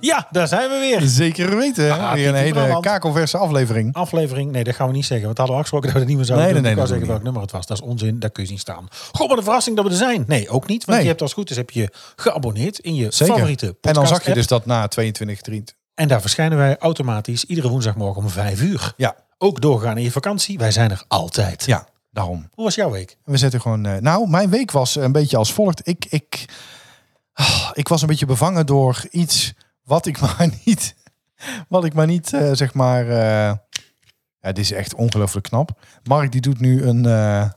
Ja, daar zijn we weer. Zeker weten. Ah, Weer een Pieter hele Brabant. kakelverse aflevering. Aflevering, nee, dat gaan we niet zeggen. Want dat hadden we afgesproken dat we het niet meer zouden Nee, doen. nee, nee, ik wou dat zeggen welk nummer het was. Dat is onzin, daar kun je zien staan. Goh, wat een verrassing dat we er zijn. Nee, ook niet. Want Nee. je hebt als het goed is heb je geabonneerd in je Zeker. favoriete podcast en dan zag je dus dat na 22, 23. En daar verschijnen wij automatisch iedere woensdagmorgen om vijf uur. Ja, Ook doorgaan in je vakantie. Wij zijn er altijd. ja, daarom. Hoe was jouw week? We zetten gewoon... eh, nou, mijn week was een beetje als volgt. Ik, ik, ah, ik was een beetje bevangen door iets wat ik maar niet... Wat ik maar niet, eh, zeg maar... eh, ja, dit is echt ongelooflijk knap. Mark die doet nu een, eh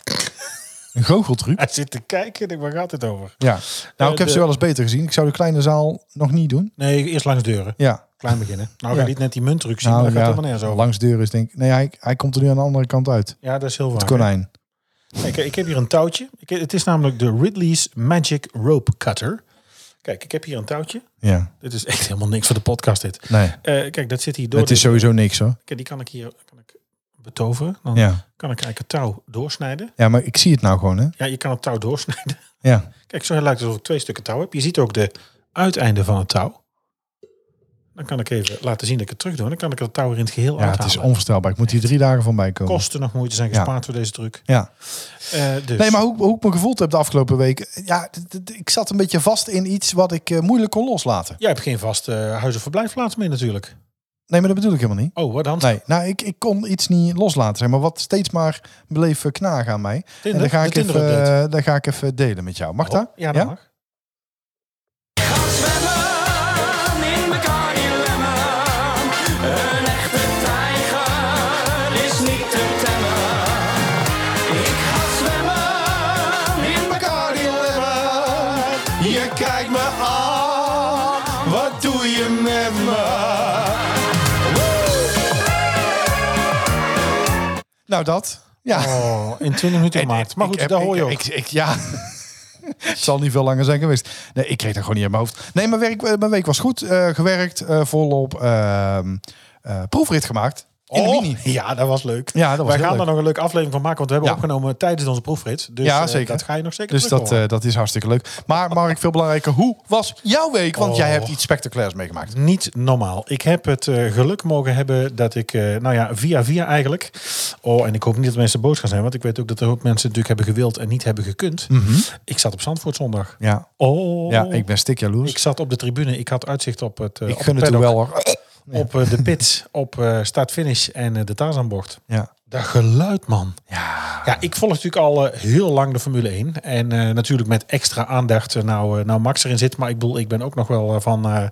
een goocheltruc. Hij zit te kijken. Ik denk, waar gaat het over? Ja. Nou, ik heb de- ze wel eens beter gezien. Ik zou de kleine zaal nog niet doen. Nee, eerst langs deuren. Ja. Klein beginnen. Nou, ga Ja. Nou niet net die munttruc zien. maar dat gaat helemaal nergens over. Langs deur is denk ik... Nee, hij, hij komt er nu aan de andere kant uit. Ja, dat is heel waar. Het konijn. Kijk, ik heb hier een touwtje. Ik, het is namelijk de Ridley's Magic Rope Cutter. Kijk, ik heb hier een touwtje. Ja. Dit is echt helemaal niks voor de podcast dit. Nee. Eh, kijk, dat zit hier door. het is de- sowieso niks hoor. Kijk, die kan ik hier kan ik betoveren. Dan Ja. kan ik eigenlijk het touw doorsnijden. Ja, maar ik zie het nou gewoon hè. Ja, je kan het touw doorsnijden. Ja. Kijk, zo lijkt het alsof ik twee stukken touw heb. Je ziet ook de uiteinden van het touw. Dan kan ik even laten zien dat ik het terug doe. Dan kan ik het touw weer in het geheel Ja, het is uithalen. onvoorstelbaar. Ik moet hier drie dagen van bij komen. Kosten nog moeite zijn Ja. gespaard voor deze truc. Ja. Eh, dus. Nee, maar hoe, hoe ik me gevoeld heb de afgelopen week. Ja, d- d- d- ik zat een beetje vast in iets wat ik eh, moeilijk kon loslaten. Jij hebt geen vaste eh, huis- of verblijfplaats meer natuurlijk. Nee, maar dat bedoel ik helemaal niet. Oh, wat dan? Nee, nou, ik, ik kon iets niet loslaten, zeg maar. Wat steeds maar bleef eh, knagen aan mij. Tinder, en dan ga, de ik even, Tinder-update. eh, dan ga ik even delen met jou. Mag dat? Oh, Ja, dat mag. zwemmen in Bacardi Lemon. Een echte tijger is niet te temmen. Ik ga zwemmen in Bacardi Lemon. Je kijkt me aan, wat doe je met me? Nou, dat. Ja. Oh, in 20 minuten En gemaakt. ik- Maar ik goed, heb- daar hoor je ik- ook. Ik, ik- ja. Het zal niet veel langer zijn geweest. Nee, ik kreeg dat gewoon niet uit mijn hoofd. Nee, mijn, werk, mijn week was goed. eh, gewerkt, eh, volop. ehm, eh, proefrit gemaakt. In de Oh, mini. Ja, dat was leuk. Ja, dat was Wij heel gaan daar leuk. nog een leuke aflevering van maken, want we hebben Ja. opgenomen tijdens onze proefrit. Dus Ja, eh, zeker. dat ga je nog zeker Dus terug dat, horen. eh, dat is hartstikke leuk. Maar Mark, veel belangrijker, hoe was jouw week? Want jij Oh. hebt iets spectaculairs meegemaakt. Niet normaal. Ik heb het eh, geluk mogen hebben dat ik, eh, nou ja, via via eigenlijk. Oh, en ik hoop niet dat mensen boos gaan zijn, want ik weet ook dat er ook mensen natuurlijk hebben gewild en niet hebben gekund. Ik zat op Zandvoort zondag. Ja, Oh, Mhm. ja ik ben stik jaloers. ik Ik, zat op de tribune. Ik had uitzicht op het. eh, op gun het paddock, u wel hoor. Op eh, de pit, op eh, start-finish en eh, de Tarzanbocht. Ja. Dat geluid, man. Ja. Ja, ik volg natuurlijk al eh, heel lang de Formule 1. En eh, natuurlijk met extra aandacht eh, nou, eh, nou Max erin zit. Maar ik bedoel, ik ben ook nog wel eh, van eh,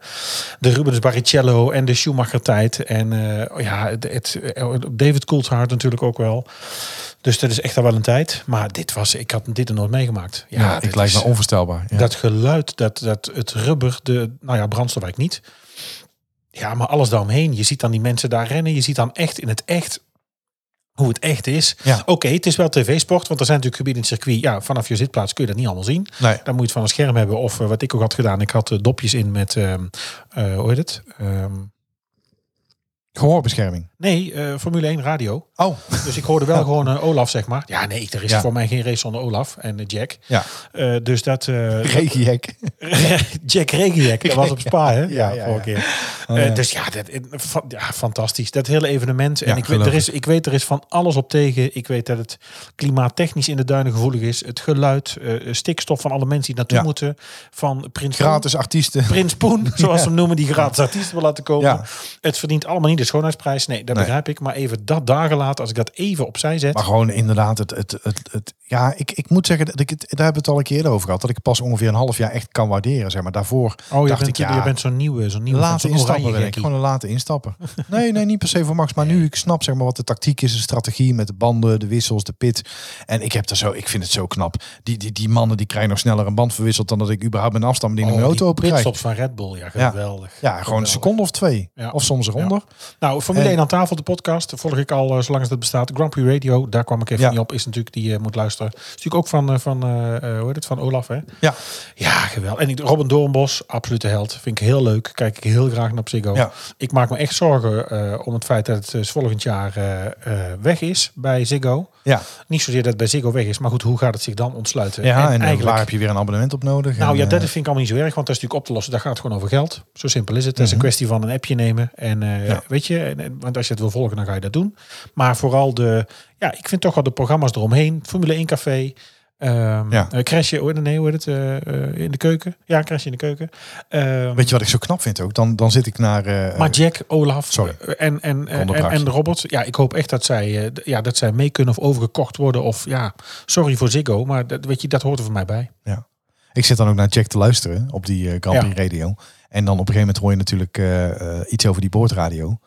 de Rubens Barrichello en de Schumacher tijd. En eh, oh ja, het, het- eh, David Coulthard natuurlijk ook wel. Dus dat is echt al wel een tijd. Maar dit was, ik had dit er nooit meegemaakt. Ja, Ja, eh, dit ik lijkt is- me onvoorstelbaar. Ja. Dat geluid, dat, dat, het rubber, de, nou ja, brandstof eigenlijk niet. Ja, maar alles daaromheen. Je ziet dan die mensen daar rennen. Je ziet dan echt in het echt hoe het echt is. Ja. Oké, het is wel tv-sport, want er zijn natuurlijk gebieden in het circuit. Ja, vanaf je zitplaats kun je dat niet allemaal zien. Nee. Dan moet je het van een scherm hebben. Of eh, wat ik ook had gedaan, ik had eh, dopjes in met, ehm, eh, hoe heet het? Ehm, Gehoorbescherming. nee, eh, Formule 1 radio. Oh, Dus ik hoorde wel gewoon eh, Olaf, zeg maar. Ja, nee, er is Ja. voor mij geen race zonder Olaf en eh, Jack. ja. Eh, dus dat... eh, Regiehek. Jack Regiek, dat was op Spa, hè? Ja, Ja, ja, vorige ja. keer. Oh, Eh, ja. dus ja, dat, eh, fa- ja, fantastisch. Dat hele evenement. En Ja, ik, weet, er geloof is, ik weet, er is van alles op tegen. Ik weet dat het klimaattechnisch in de duinen gevoelig is. Het geluid, eh, stikstof van alle mensen die naartoe Ja. moeten. Van Prins Gratis artiesten. Poen, Prins Poen, zoals we hem noemen, die gratis artiesten wil laten komen. Ja. Het verdient allemaal niet de schoonheidsprijs. Nee, dat Nee. begrijp ik. Maar even dat dagen later, als ik dat even opzij zet. Maar gewoon inderdaad, het, het, het, het, ja, ik, ik moet zeggen, dat ik het, daar hebben we het al een keer eerder over gehad. Dat ik pas ongeveer een half jaar echt kan waarderen. Zeg maar. Daarvoor oh, je dacht bent, ik, ja, je bent zo'n nieuwe, zo'n een nieuwe late zo'n instapper ben ik. oranje-gekkie. Gewoon een late instapper. Nee, nee, niet per se voor Max. Maar nu ik snap zeg maar, wat de tactiek is, de strategie met de banden, de wissels, de pit. En ik, heb er zo, ik vind het zo knap. Die, die, die mannen die krijgen nog sneller een band verwisseld dan dat ik überhaupt mijn Oh, afstandbediening in mijn die auto open krijg. pitstops van Red Bull, ja, geweldig. Ja, gewoon een Geweldig. seconde of twee. Ja. Of soms eronder. Nou, Formule En- 1 aan tafel, de podcast, volg ik al eh, zolang als dat bestaat. Grand Prix Radio, daar kwam ik even Ja. niet op, is natuurlijk, die eh, moet luisteren. Is natuurlijk ook van, eh, van eh, eh, hoe heet het, van Olaf, hè? Ja. Ja, geweldig. En ik, Robin Doornbos, absolute held. Vind ik heel leuk. Kijk ik heel graag naar Psycho. Ja. Ik maak me echt zorgen eh, om het feit dat het dus volgend jaar eh, eh, weg is bij Ziggo. Ja, Niet zozeer dat het bij Ziggo weg is, maar goed, hoe gaat het zich dan ontsluiten? ja en, eh, waar heb je weer een abonnement op nodig? Nou En, ja, dat eh, vind ik allemaal niet zo erg, want dat is natuurlijk op te lossen. Daar gaat het gewoon over geld. Zo simpel is het. Het is een kwestie van een appje nemen. En eh, Mhm. Ja. weet je, en- en- want als je het wil volgen, dan ga je dat doen. Maar vooral de, ja, ik vind toch wel de programma's eromheen. Formule 1 Café. ehm Ja. eh, crashje, oh, nee, hoe heet het? eh, eh, in de keuken. Ja, Crashje in de keuken. Ehm, Weet je wat ik zo knap vind ook? Dan, dan zit ik naar... eh, maar Jack, Olaf Sorry. eh, en, en, eh, en, onderbrak je. en Robert. Ja, ik hoop echt dat zij, eh, d- ja, dat zij mee kunnen of overgekocht worden. Of ja, sorry voor Ziggo, maar dat, weet je, dat hoort er voor mij bij. Ik zit dan ook naar Jack te luisteren op die eh, Grand Ja. Prix radio. En dan op een gegeven moment hoor je natuurlijk eh, eh, iets over die boordradio.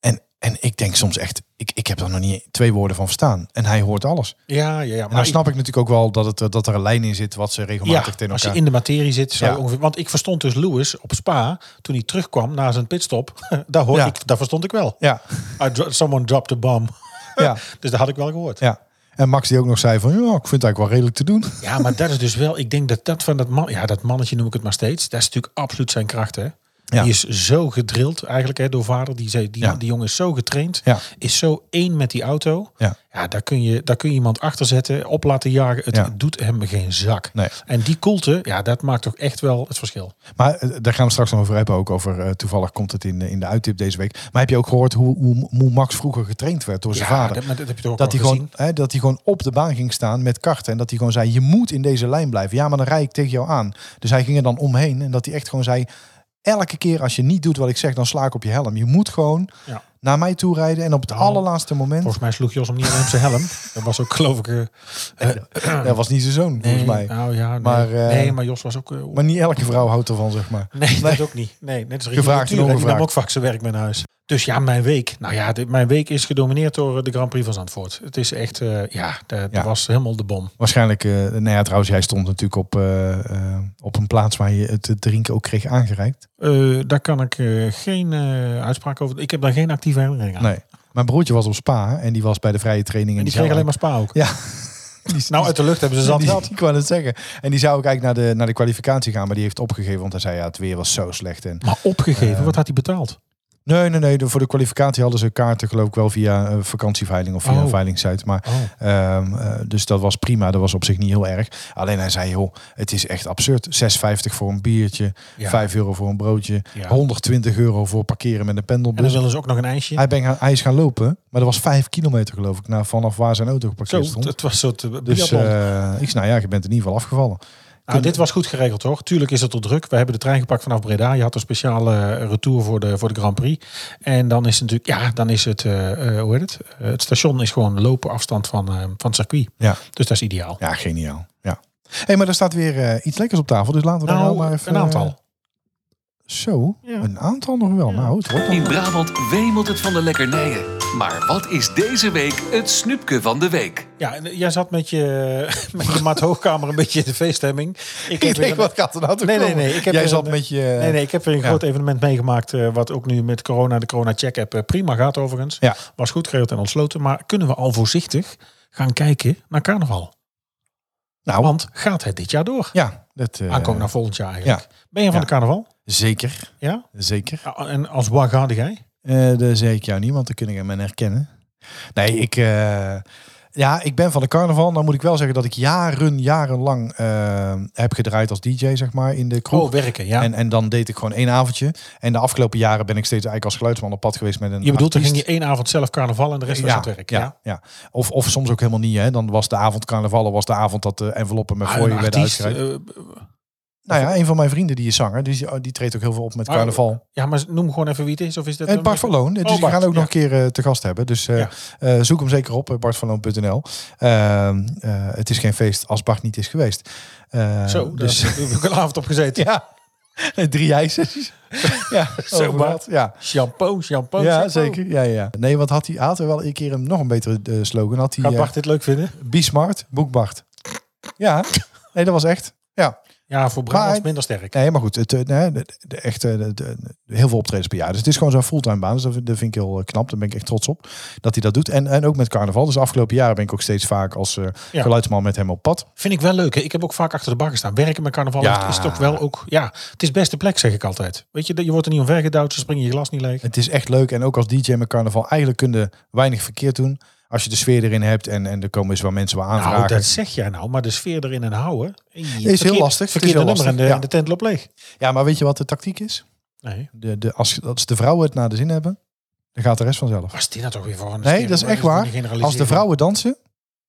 En, en ik denk soms echt, ik, ik heb daar nog niet twee woorden van verstaan. En hij hoort alles. Ja, ja, ja. En dan snap ik natuurlijk ook wel dat, het, eh, dat er een lijn in zit wat ze regelmatig tegen als je elkaar... in de materie zit. Zou je Ja. ongeveer, want ik verstond dus Lewis op Spa toen hij terugkwam na zijn pitstop. daar, hoor Ja. ik, daar verstond ik wel. Ja, I dro- someone dropped the bomb. ja, Dus dat had ik wel gehoord. Ja. ja. En Max die ook nog zei van, ja, ik vind het eigenlijk wel redelijk te doen. maar dat is dus wel. Ik denk dat dat van dat man, ja, dat mannetje noem ik het maar steeds. Dat is natuurlijk absoluut zijn kracht, hè? Ja. Die is zo gedrild eigenlijk hè, door vader. Die, zei, die, Ja. die jongen is zo getraind. Ja. Is zo één met die auto. Ja. Ja, daar kun je, daar kun je iemand achter zetten, op laten jagen. Het Ja. doet hem geen zak. Nee. En die koelte, ja, dat maakt toch echt wel het verschil. Maar eh, daar gaan we straks nog over hebben. Ook over eh, toevallig komt het in, de- in de uittip deze week. Maar heb je ook gehoord hoe, hoe, hoe Max vroeger getraind werd door zijn Ja, vader? Dat, maar dat heb je toch ook Dat al hij, gezien? gewoon, hè, dat hij gewoon op de baan ging staan met karten. En dat hij gewoon zei, je moet in deze lijn blijven. Ja, maar dan rijd ik tegen jou aan. Dus hij ging er dan omheen. En dat hij echt gewoon zei, elke keer als je niet doet wat ik zeg, dan sla ik op je helm. Je moet gewoon Ja. naar mij toe rijden. En op het Nou, allerlaatste moment, Volgens mij sloeg Jos hem niet alleen op zijn helm. Dat was ook geloof ik... eh, dat was niet zijn zoon volgens mij. Nou ja, nee. Maar, eh, nee, maar Jos was ook... eh, Maar niet elke vrouw houdt ervan, zeg maar. nee, dat ook niet. Nee, net als Ricky Gevraagd Ventura, en Die nam ongevraagd. ook vaak zijn werk mee naar huis. Dus ja, mijn week. Nou ja, dit, mijn week is gedomineerd door eh, de Grand Prix van Zandvoort. Het is echt... eh, ja, dat dat Ja. was helemaal de bom. Waarschijnlijk, eh nou ja, trouwens, jij stond natuurlijk op, eh, eh, op een plaats waar je het drinken ook kreeg aangereikt. Eh, daar kan ik eh, geen eh, uitspraak over... Ik heb daar geen actieve herinnering aan. Nee. Mijn broertje was op Spa en die was bij de vrije training. En die zei kreeg alleen maar spa ook. Ja. Nou, uit de lucht hebben ze zand die, gehad. die kwam het zeggen. En die zou ook eigenlijk naar de, naar de kwalificatie gaan, maar die heeft opgegeven. Want hij zei, ja, het weer was zo slecht. En... Maar opgegeven, wat had hij betaald? Nee, nee, nee. de- voor de kwalificatie hadden ze kaarten geloof ik wel via eh, vakantieveiling of via Oh. een veilingsite. Maar, Oh. ehm, eh, dus dat was prima. Dat was op zich niet heel erg. Alleen hij zei, joh, het is echt absurd. 6,50 voor een biertje, Ja. 5 euro voor een broodje, Ja. 120 euro voor parkeren met een En dan pendelbus. willen ze ook nog een ijsje. dus, Hij, ben gaan, hij is gaan lopen, maar dat was 5 kilometer geloof ik, nou, vanaf waar zijn auto Zo, geparkeerd stond. het was een soort dus, Dus eh, ik zei, nou ja, je bent in ieder geval afgevallen. Nou, dit was goed geregeld hoor. Tuurlijk is het al druk. We hebben de trein gepakt vanaf Breda. Je had een speciale eh, retour voor de, voor de Grand Prix. En dan is het natuurlijk, ja, dan is het, eh, eh, hoe heet het? Eh, het station is gewoon lopen afstand van, eh, van het circuit. Ja. Dus dat is ideaal. Ja, geniaal. Ja. Hé, maar er staat weer eh, iets lekkers op tafel, dus laten we daar nou nou, maar even... een aantal. eh, zo, Ja. een aantal nog wel. Nou, het wordt In dan... Brabant wemelt het van de lekkernijen. Maar wat is deze week het snoepje van de week? Ja, en eh, jij zat met je, met je maat hoogkamer een beetje in de feeststemming. Ik heb Ik weer denk, een- wat gaat er nou toe Nee, nee, komen? nee, ik heb Jij een- zat met je... Nee, nee, ik heb weer een Ja. groot evenement meegemaakt. eh, wat ook nu met corona, de Corona Check App, eh, prima gaat overigens. Ja. Was goed geregeld en ontsloten. Maar kunnen we al voorzichtig gaan kijken naar carnaval? Nou, Want gaat het dit jaar door? ja, dat... eh, Aankomen naar volgend jaar eigenlijk. Ben je van Ja. de carnaval? Zeker, Ja? zeker. Ah, En als waar ga jij? Eh dat zeg ik jou niet, want dan kun ik hem herkennen. Nee, ik... eh, ja, ik ben van de carnaval. Dan moet ik wel zeggen dat ik jaren, jarenlang eh, heb gedraaid als DJ, zeg maar, in de kroeg. Oh, werken, ja. En, en dan deed ik gewoon één avondje. En de afgelopen jaren ben ik steeds eigenlijk als geluidsman op pad geweest met een. je bedoelt, dan artiest. ging je één avond zelf carnaval en de rest was ja, het werk. ja, Ja. ja. Of, of soms ook helemaal niet. Hè. Dan was de avond carnaval, of was de avond dat de enveloppen met Ah, voor een je werden artiest, uitgereikt. eh, nou ja, een van mijn vrienden die is zanger, dus die, die treedt ook heel veel op met Maar- carnaval. ja, maar noem gewoon even wie het is. Of is dat En een- Bart van Loon, dus Oh, die gaan Bart, ook nog ja. een keer eh, te gast hebben. Dus eh, Ja. eh, zoek hem zeker op, eh, bartvanloon.nl. Ehm, eh, het is geen feest als Bart niet is geweest. Eh, Zo, daar dus, heb ik een avond op gezeten. ja, drie ijsjes. ja, Zo, over Bart. wat, Ja. Shampoo, shampoo, ja, shampoo. zeker. Ja, ja. Nee, want had hij had er wel een keer een, nog een betere eh, slogan. Had hij Gaat eh, Bart dit leuk vinden? Be Smart, Boek Bart. Ja, nee, dat was echt. Ja. Ja, voor Brabant Maar- minder sterk. Nee, maar goed, het, eh, nee, de, de, echt eh, de- de- de- heel veel optredens per jaar. Dus het is gewoon zo'n fulltime baan. Dus dat vind dat vind ik heel eh, knap. Daar ben ik echt trots op dat hij dat doet. En, en ook met carnaval. Dus de afgelopen jaren ben ik ook steeds vaak als eh, Ja. geluidsman met hem op pad. Vind ik wel leuk. Hè? Ik heb ook vaak achter de bar gestaan. Werken met carnaval Ja. is toch wel ook... Ja, het is best de plek, zeg ik altijd. Weet je, je wordt er niet omver gedouwd. Ze springen je glas niet leeg. Het is echt leuk. En ook als DJ met carnaval, eigenlijk kun je weinig verkeerd doen. Als je de sfeer erin hebt en, en er komen eens wel mensen wel aanvragen. Nou, dat zeg jij nou. Maar de sfeer erin en houden... eh, Is heel lastig. Is Verkeerde heel nummer en de, lastig, ja. en de tent loopt leeg. Ja, maar weet je wat de tactiek is? Nee. De, de, als, als de vrouwen het naar de zin hebben, dan gaat de rest vanzelf. Was dit nou toch weer voor een Nee, smerige- dat is echt toch waar. niet generaliseren? Als de vrouwen dansen,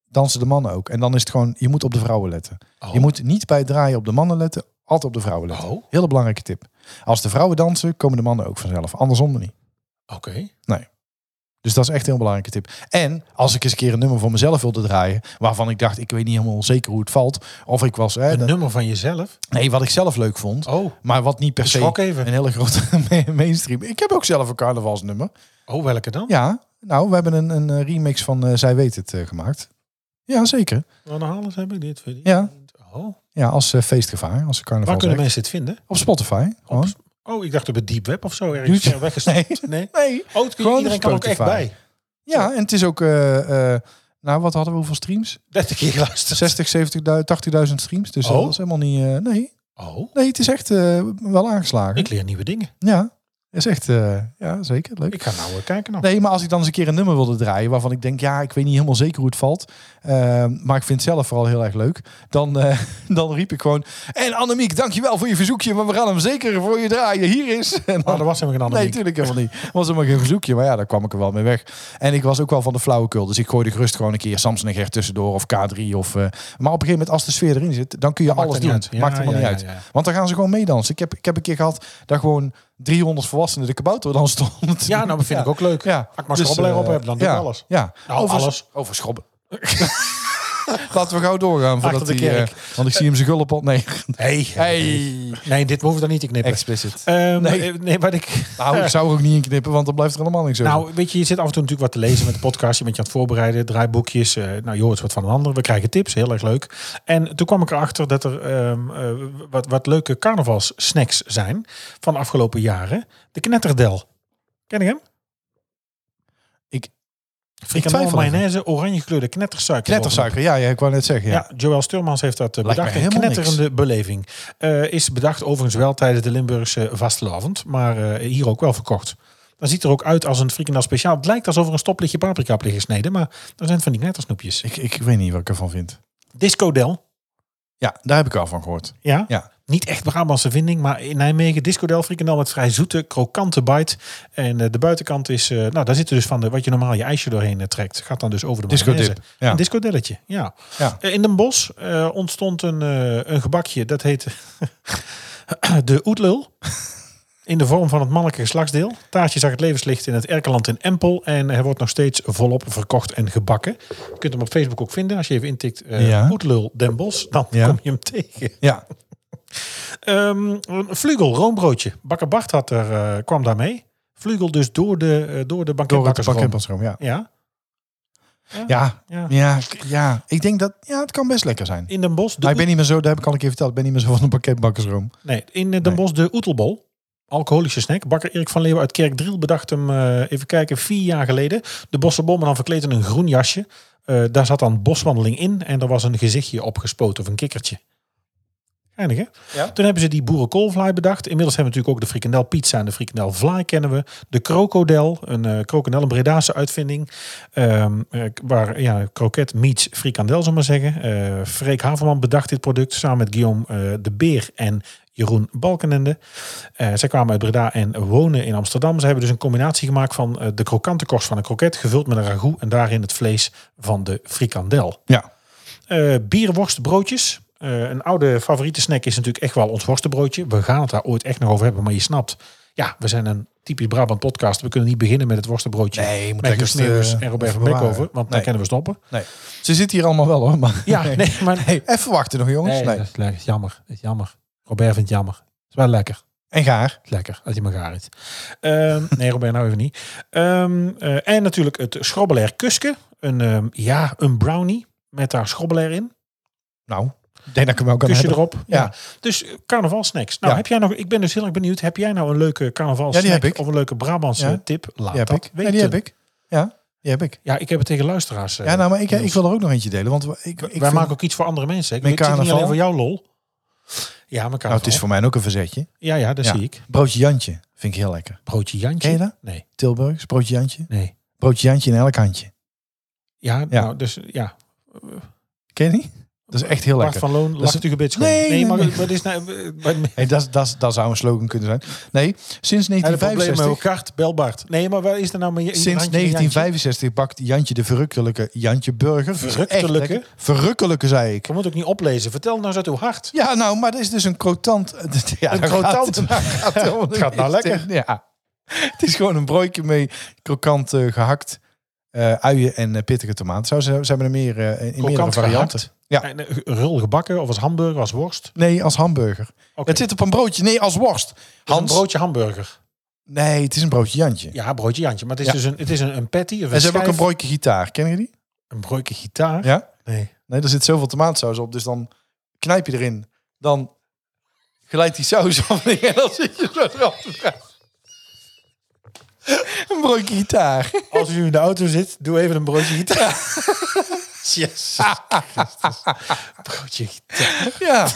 dansen de mannen ook. En dan is het gewoon, je moet op de vrouwen letten. Oh. Je moet niet bij het draaien op de mannen letten, altijd op de vrouwen letten. Oh. Hele belangrijke tip. Als de vrouwen dansen, komen de mannen ook vanzelf. Andersom niet. Oké. Dus dat is echt een heel belangrijke tip. En als ik eens een keer een nummer voor mezelf wilde draaien, waarvan ik dacht, ik weet niet helemaal zeker hoe het valt. Of ik was, hè, Een dat- nummer van jezelf? nee, wat ik zelf leuk vond. Oh. Maar wat niet per se Schrok even. een hele grote ma- mainstream. Ik heb ook zelf een carnavalsnummer. Oh, welke dan? Ja, nou, we hebben een, een eh, remix van eh, Zij Weet Het eh, gemaakt. Ja, zeker. Van Halen heb ik dit verdiend. Ja. Oh. Ja, als eh, feestgevaar, als Waar carnaval. kunnen mensen het vinden? Op Spotify. Gewoon. Oh, ik dacht op het deep web of zo ergens YouTube. ver weggestopt. Nee. Nee. Oh, het- Gewoon iedereen kan ook echt Spotify. bij. Ja, en het is ook... eh, eh, nou, wat hadden we? Hoeveel streams? 30 keer luisteren. 60, 70, 80.000 streams. Dus Oh. dat is helemaal niet... eh, nee. Oh, nee, het is echt eh, wel aangeslagen. ik leer nieuwe dingen. Ja, is echt... eh, ja, zeker. Leuk. Ik ga nou eh, kijken. Nou. Nee, maar als ik dan eens een keer een nummer wilde draaien waarvan ik denk, ja, ik weet niet helemaal zeker hoe het valt. eh, maar ik vind het zelf vooral heel erg leuk. Dan, eh, dan riep ik gewoon. En Annemiek, dankjewel voor je verzoekje. Maar we gaan hem zeker voor je draaien. Hier is. En Oh, dan, dat was hem een andere nee, ding. natuurlijk helemaal niet. Was helemaal geen verzoekje. Maar ja, daar kwam ik er wel mee weg. En ik was ook wel van de flauwekul. Dus ik gooide gerust gewoon een keer Samson en Gert tussendoor. Of K3. Of, eh, maar op een gegeven moment, als de sfeer erin zit, dan kun je Maakt alles er niet doen. uit. Ja, Maakt helemaal ja, niet ja, uit. ja. Want dan gaan ze gewoon meedansen. Ik heb, ik heb een keer gehad dat gewoon 300 volwassenen de kabouter dan stond. Ja, nou, dat vind Ja. ik ook leuk. Ja. Als ik maar schrobbelaar eh, op heb, dan doe ik alles. Ja. Nou, Over- alles. Over schrobben. Laten we gauw doorgaan voordat Achter de hij... eh, want ik zie hem zijn gulp op. Nee. Hey. Hey. Nee, dit hoef ik dan niet te knippen. Explicit. Ehm, Nee. nee. nee, wat ik... Nou, ik zou er ook niet in knippen, want dan blijft er helemaal niks over. Nou, weet je, je zit af en toe natuurlijk wat te lezen met de podcast. Je bent je aan het voorbereiden, draaiboekjes. eh, nou, je hoort wat van een ander. We krijgen tips, heel erg leuk. En toen kwam ik erachter dat er ehm, eh, wat, wat leuke carnavalssnacks zijn van de afgelopen jaren. De knetterdel. Ken je hem? Ik- Frikandel, twijfel even. mayonaise, oranje gekleurde knettersuiker. Knettersuiker, ja, ja, ik wou net zeggen. Ja. Ja, Joël Sturmans heeft dat eh, Lijkt bedacht. mij Een helemaal knetterende beleving. Eh, is bedacht overigens wel tijdens de Limburgse vastelavond. Maar eh, hier ook wel verkocht. Dan ziet er ook uit als een frikandel speciaal. Het lijkt alsof er een stoplichtje paprika op liggen gesneden. Maar dan zijn het van die knettersnoepjes. Ik, ik weet niet wat ik ervan vind. Disco Del. Ja, daar heb ik al van gehoord. Ja. Ja. Niet echt Brabantse vinding, maar in Nijmegen Disco Del frikandel met vrij zoete, krokante bite. En eh, de buitenkant is, eh, nou daar zitten dus van de, wat je normaal je ijsje doorheen eh, trekt. Gaat dan dus over de Disco mayonaise. dip. Ja. Een discodelletje, ja. Ja. Eh, In Den Bosch eh, ontstond een, eh, een gebakje, dat heet de oetlul. In de vorm van het mannelijke geslachtsdeel. Taartje zag het levenslicht in het Erkeland in Empel. En hij wordt nog steeds volop verkocht en gebakken. Je kunt hem op Facebook ook vinden. Als je even intikt eh Ja. oetlul Den Bosch, dan Ja. kom je hem tegen. Ja, Ehm, een vlugel, roombroodje. Bakker Bart had er, eh, kwam daarmee. Vlugel dus door de, eh, door de door het banketbakkersroom. banketpansroom, ja. ja. Ja, Ja. ja, k- ja. Ik denk dat, ja, het kan best lekker zijn. In Den Bosch. de Maar ik ben niet meer zo, daar heb ik al een keer verteld, ik ben niet meer zo van een banketbakkersroom. Nee, in eh, Den Nee. Bosch de Oetelbol. Alcoholische snack. Bakker Erik van Leeuwen uit Kerkdriel bedacht hem, eh, even kijken, vier jaar geleden. De bossenbommen dan verkleed in een groen jasje. Eh, daar zat dan boswandeling in en er was een gezichtje opgespoten of een kikkertje. Geinig, hè? Ja. Toen hebben ze die boerenkoolvlaai bedacht. Inmiddels hebben we natuurlijk ook de frikandel pizza en de frikandel vlaai kennen we. De krokodel, een eh krokodel, een Bredaanse uitvinding. Ehm, eh, waar ja, kroket meets frikandel, zal ik maar zeggen. Eh Freek Haverman bedacht dit product samen met Guillaume eh, de Beer en Jeroen Balkenende. Eh, zij kwamen uit Breda en wonen in Amsterdam. Ze hebben dus een combinatie gemaakt van eh, de krokante korst van een kroket... gevuld met een ragout en daarin het vlees van de frikandel Ja, eh bierworstbroodjes. Eh, een oude favoriete snack is natuurlijk echt wel ons worstenbroodje. We gaan het daar ooit echt nog over hebben, maar je snapt. Ja, we zijn een typisch Brabant podcast. We kunnen niet beginnen met het worstenbroodje. Nee, je moet met lekker Smeeuwers het, eh, en Robert van even bewaren. Beekhoven, want dan Nee. kunnen we stoppen. nee. Ze zitten hier allemaal wel hoor, maar... Ja, nee, maar... Hey, even wachten nog jongens. Nee. is, jammer. Dat is jammer. Robert vindt het jammer. is wel lekker. En gaar. Lekker, als hij maar gaar is. Ehm, nee, Robert, nou even niet. Ehm, eh, en natuurlijk het schrobbelair kuske. Een, ehm, ja, een brownie met daar schrobbelair in. Nou, Ik denk dat ik hem ook kan Kusje hebben. erop. Ja. Ja. Dus eh, carnavalsnacks. Nou, Ja. heb jij nog, ik ben dus heel erg benieuwd. Heb jij nou een leuke carnavalsnack Ja, die heb ik. of een leuke Brabantse Ja. tip? Laat Die heb dat ik. Ja, die heb ik. Ja, die heb ik. Ja, ik heb het tegen luisteraars. eh, Ja, nou, maar ik, Niels. ik wil er ook nog eentje delen. Want ik, ik Wij vind- maken ook iets voor andere mensen. Ik Mijn weet het is niet alleen carnaval. voor jou, lol. Ja, mijn carnaval. nou, het is voor mij ook een verzetje. Ja, ja, dat Ja. zie ik. Broodje Jantje vind ik heel lekker. Broodje Jantje. Ken je dat? Nee, Tilburgs, broodje Jantje. nee. Broodje Jantje in elk handje. Ja, nou, dus ja. Ken je die? Dat is echt heel Bart lekker. van Loon, lacht u gebitst. Nee, nee, maar nee. wat is nou... eh, bij- Hey, dat, dat, dat zou een slogan kunnen zijn. Nee, sinds Hij heeft een probleem met 1965, elkaar, bel Bart. Nee, maar waar is er nou... Mijn, sinds 1965 bakt Jantje de verrukkelijke Jantje Burger. Dat is echt Verrukkelijke? lekker. Verrukkelijke, zei ik. Je moet ook niet oplezen. Vertel nou eens uit uw hart. Ja, nou, maar dat is dus een crotant. Ja, Een dat crotant. Gaat, dat gaat helemaal Het gaat nou niet. lekker. Ja. Het is gewoon een broodje mee krokant eh, gehakt. eh, uien en eh, pittige tomaat. Zo ze, ze hebben er meer eh, in meerdere Krokant varianten. gehakt. Ja. En, eh, Rul gebakken, of als hamburger, als worst. Nee, als hamburger. Oké. Het zit op een broodje. Nee, als worst. Het is een Hans. broodje hamburger. Nee, het is een broodje Jantje. Ja, broodje Jantje. Maar het is Ja. dus een, het is een, een patty. Of een en ze hebben ook een schijf, broodje gitaar. Ken je die? een broodje gitaar. Ja? Nee. Nee, er zit zoveel tomaatsaus op. Dus dan knijp je erin. Dan glijdt die saus af. En dan zit je zo erop te praten. Een broodje gitaar. Als u in de auto zit, doe even een broodje gitaar. Yes. broodje gitaar. Ah, Ja.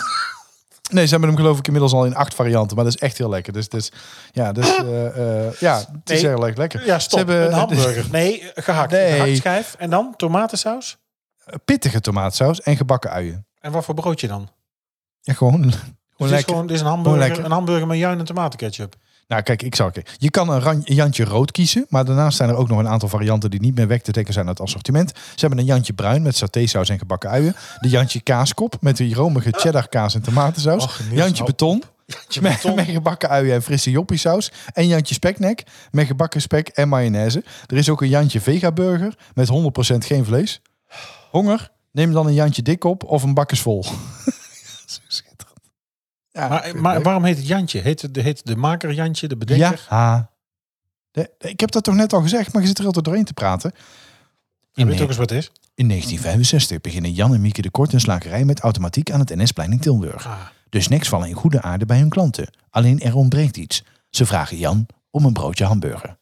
Nee, ze hebben hem geloof ik inmiddels al in acht varianten. Maar dat is echt heel lekker. Dus, dus ja, dus, eh, eh, ja, het is Nee. heel erg lekker. Ja, stop. Ze hebben een hamburger. Nee, gehakt. Nee. Een gehaktschijf. En dan tomatensaus. pittige tomaatsaus en gebakken uien. En wat voor broodje dan? Ja, gewoon, gewoon Dus dit, is lekker. gewoon, dit is een hamburger, lekker. een hamburger met juin en tomatenketchup. Nou, kijk, ik zou Je kan een ran- Jantje rood kiezen. Maar daarnaast zijn er ook nog een aantal varianten die niet meer weg te dekken zijn uit het assortiment. Ze hebben een Jantje bruin met satésaus en gebakken uien. De Jantje kaaskop met die romige cheddar kaas en tomatensaus. Ah. Och, Niels, Jantje nou. beton. Met, beton. met gebakken uien en frisse joppiesaus. En Jantje speknek met gebakken spek en mayonaise. Er is ook een Jantje vegaburger met 100% geen vlees. Honger? Neem dan een Jantje dik op of een bakkersvol. Zo schitterend. Ja, ik Maar, vind het maar leuk. waarom heet het Jantje? Heet het, heet de maker Jantje, de bedenker? Ja. De- de- ik heb dat toch net al gezegd, maar je zit er altijd doorheen te praten. Je In, weet ne- ook eens wat het is. in 1965 beginnen Jan en Mieke de Kort een slagerij met automatiek aan het NS-plein in Tilburg. Ah. De snacks vallen in goede aarde bij hun klanten. Alleen er ontbreekt iets. Ze vragen Jan om een broodje hamburger.